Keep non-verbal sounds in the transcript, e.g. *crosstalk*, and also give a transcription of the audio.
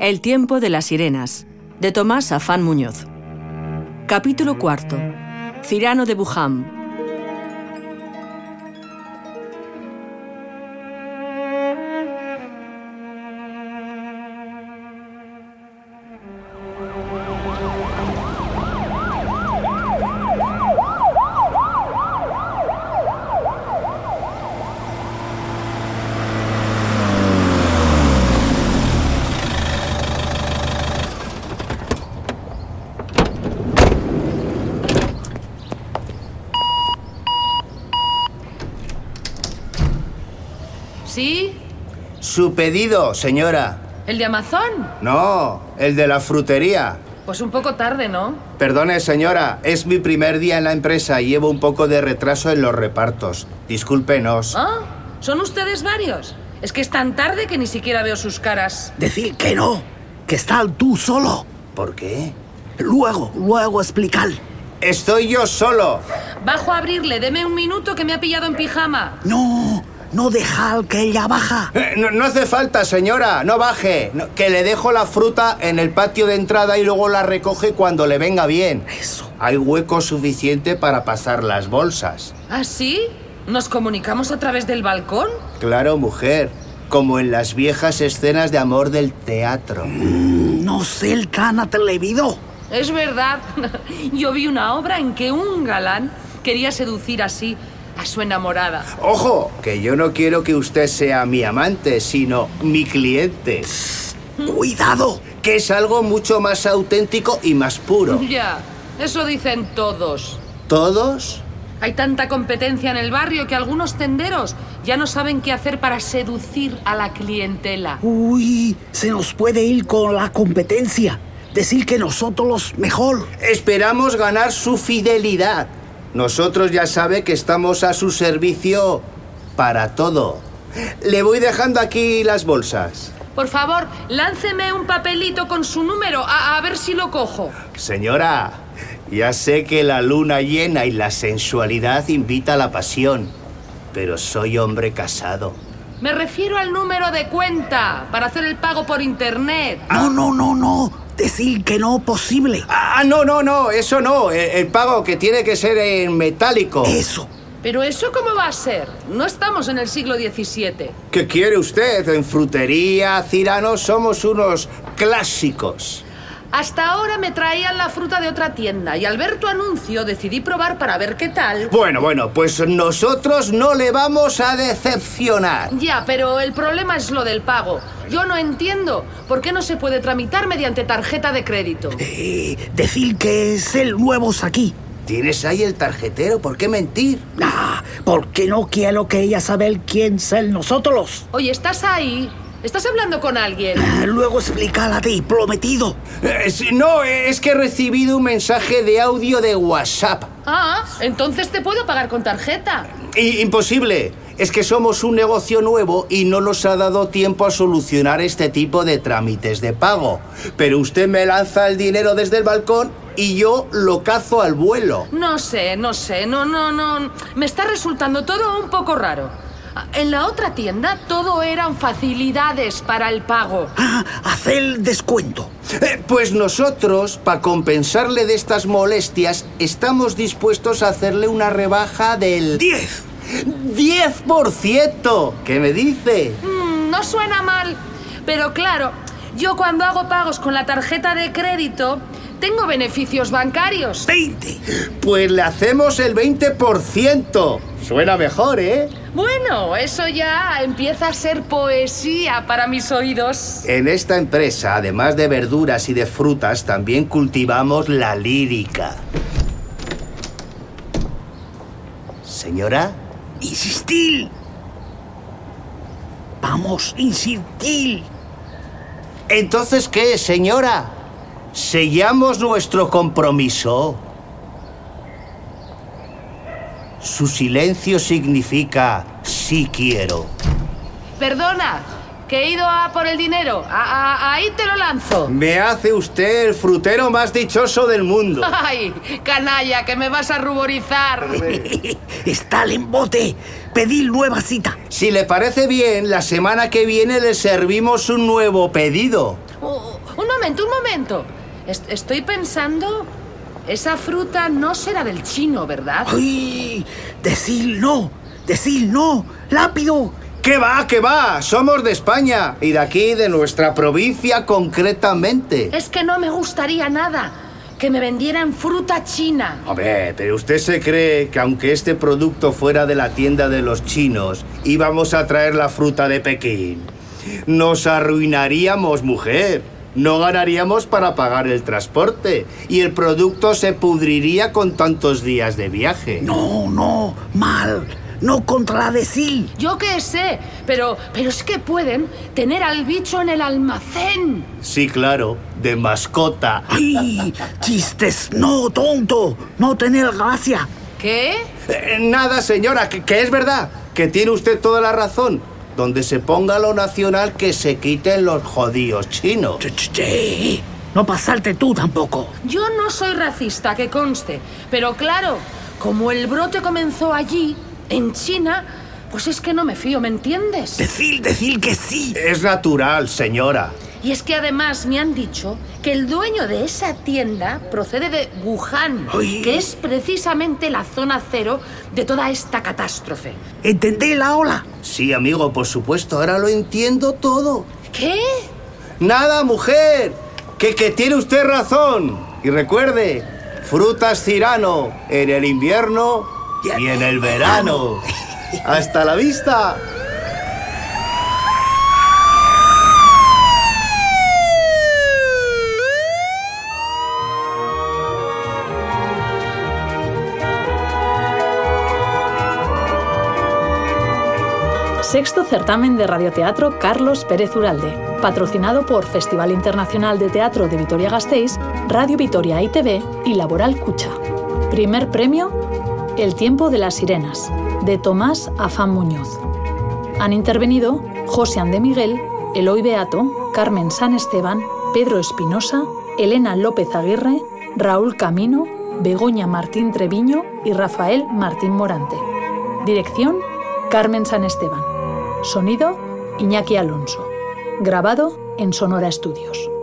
El tiempo de las sirenas, de Tomás Afán Muñoz. Capítulo cuarto. Cirano de Bujam. ¿Sí? Su pedido, señora. ¿El de Amazon? No, el de la frutería. Pues un poco tarde, ¿no? Perdone, señora, es mi primer día en la empresa y llevo un poco de retraso en los repartos. Discúlpenos. ¿Ah? ¿Son ustedes varios? Es que es tan tarde que ni siquiera veo sus caras. Decir que no, que está tú solo. ¿Por qué? Luego, luego explicar. Estoy yo solo. Bajo a abrirle, deme un minuto que me ha pillado en pijama. No, no dejar que ella baja. Eh, No, no hace falta, señora, no baje. No, que le dejo la fruta en el patio de entrada y luego la recoge cuando le venga bien. Eso. Hay hueco suficiente para pasar las bolsas. ¿Ah, sí? ¿Nos comunicamos a través del balcón? Claro, mujer, como en las viejas escenas de amor del teatro. No sé el can atrevido. Es verdad. *laughs* Yo vi una obra en que un galán quería seducir así a su enamorada. Ojo, que yo no quiero que usted sea mi amante, sino mi cliente, Cuidado. que es algo mucho más auténtico y *laughs* más puro. Ya, eso dicen todos. ¿Todos? Hay tanta competencia en el barrio que algunos tenderos ya no saben qué hacer para seducir a la clientela. Uy, se nos puede ir con la competencia. Decir que nosotros los mejor. Esperamos ganar su fidelidad. Nosotros ya sabe que estamos a su servicio para todo. Le voy dejando aquí las bolsas. Por favor, lánceme un papelito con su número, a, a ver si lo cojo. Señora, ya sé que la luna llena y la sensualidad invita a la pasión, pero soy hombre casado. Me refiero al número de cuenta para hacer el pago por internet. No, no, no, no. Decir que no posible. Ah, no, no, no, eso no. El, el pago que tiene que ser en metálico. Eso. Pero eso cómo va a ser? No estamos en el siglo XVII. ¿Qué quiere usted? En frutería, Cirano, somos unos clásicos. Hasta ahora me traían la fruta de otra tienda y al ver tu anuncio decidí probar para ver qué tal. Bueno, bueno, pues nosotros no le vamos a decepcionar. Ya, pero el problema es lo del pago. Yo no entiendo por qué no se puede tramitar mediante tarjeta de crédito. Eh, decir que es el nuevo aquí. ¿Tienes ahí el tarjetero? ¿Por qué mentir? Nah, porque no quiero que ella saber quién ser nosotros. Oye, ¿estás ahí? ¿Estás hablando con alguien? Ah, *clears throat* Luego explicar a ti, prometido. Eh, sí, no, eh, es que he recibido un mensaje de audio de WhatsApp. Ah, entonces te puedo pagar con tarjeta. I- imposible. Es que somos un negocio nuevo y no nos ha dado tiempo a solucionar este tipo de trámites de pago. Pero usted me lanza el dinero desde el balcón y yo lo cazo al vuelo. No sé, no sé, no, no, no. Me está resultando todo un poco raro. Ah, En la otra tienda todo eran facilidades para el pago. Ah, hacer descuento. Eh, pues nosotros, para compensarle de estas molestias, estamos dispuestos a hacerle una rebaja del 10. 10%. ¿Qué me dice? Mm, no suena mal, pero claro, yo cuando hago pagos con la tarjeta de crédito, tengo beneficios bancarios. 20. Pues le hacemos el 20%. Suena mejor, ¿eh? Bueno, eso ya empieza a ser poesía para mis oídos. En esta empresa, además de verduras y de frutas, también cultivamos la lírica. Señora, Insistir. Vamos, *laughs* insistir. ¿entonces qué, señora? Sellamos nuestro compromiso. Su silencio significa sí quiero. Perdona, que he ido a por el dinero. A- a- ahí te lo lanzo. Me hace usted el frutero más dichoso del *laughs* mundo. ¡Ay, canalla, que me vas a ruborizar! Estar en bote. Pedir nueva cita. Si le parece bien, la semana que viene le servimos un nuevo pedido. O- momento, Uh, un momento. Est- estoy pensando... Esa fruta no será del chino, ¿verdad? ¡Ay! ¡Decir no! ¡Decir no! ¡Lápido! ¿Qué va, qué va? Somos de España y de aquí, de nuestra provincia concretamente. Es que no me gustaría nada que me vendieran fruta china. A ver, pero usted se cree que aunque este producto fuera de la tienda de los chinos, íbamos a traer la fruta de Pekín. Nos arruinaríamos, mujer. No ganaríamos para pagar el transporte y el producto se pudriría con tantos días de viaje. No, no, mal. No contradecir. Yo qué sé, pero, pero es que pueden tener al bicho en el almacén. Sí, claro, de mascota. ¡Ay! ¡Chistes! ¡No, tonto! ¡No tener gracia! ¿Qué? Eh, nada, señora, que, que es verdad, que tiene usted toda la razón. Donde se ponga lo nacional, que se quiten los jodidos chinos. Che, che, che. No pasarte tú tampoco. Yo no soy racista, que conste. Pero claro, como el brote comenzó allí, en China, pues es que no me fío, ¿me entiendes? Decir, decir que sí. Es natural, señora. Y es que además me han dicho que el dueño de esa tienda procede de Wuhan, Ay. que es precisamente la zona cero de toda esta catástrofe. ¿Entendé la ola? Sí, amigo, por supuesto, ahora lo entiendo todo. ¿Qué? Nada, mujer, que, que tiene usted razón. Y recuerde, frutas cirano en el invierno y en el verano. Hasta la vista. Sexto certamen de radioteatro Carlos Pérez Uralde, patrocinado por Festival Internacional de Teatro de Vitoria-Gasteiz, Radio Vitoria ITV y Laboral Cucha. Primer premio, El tiempo de las sirenas, de Tomás Afán Muñoz. Han intervenido José Andé Miguel, Eloy Beato, Carmen San Esteban, Pedro Espinosa, Elena López Aguirre, Raúl Camino, Begoña Martín Treviño y Rafael Martín Morante. Dirección, Carmen San Esteban. Sonido, Iñaki Alonso. Grabado en Sonora Estudios.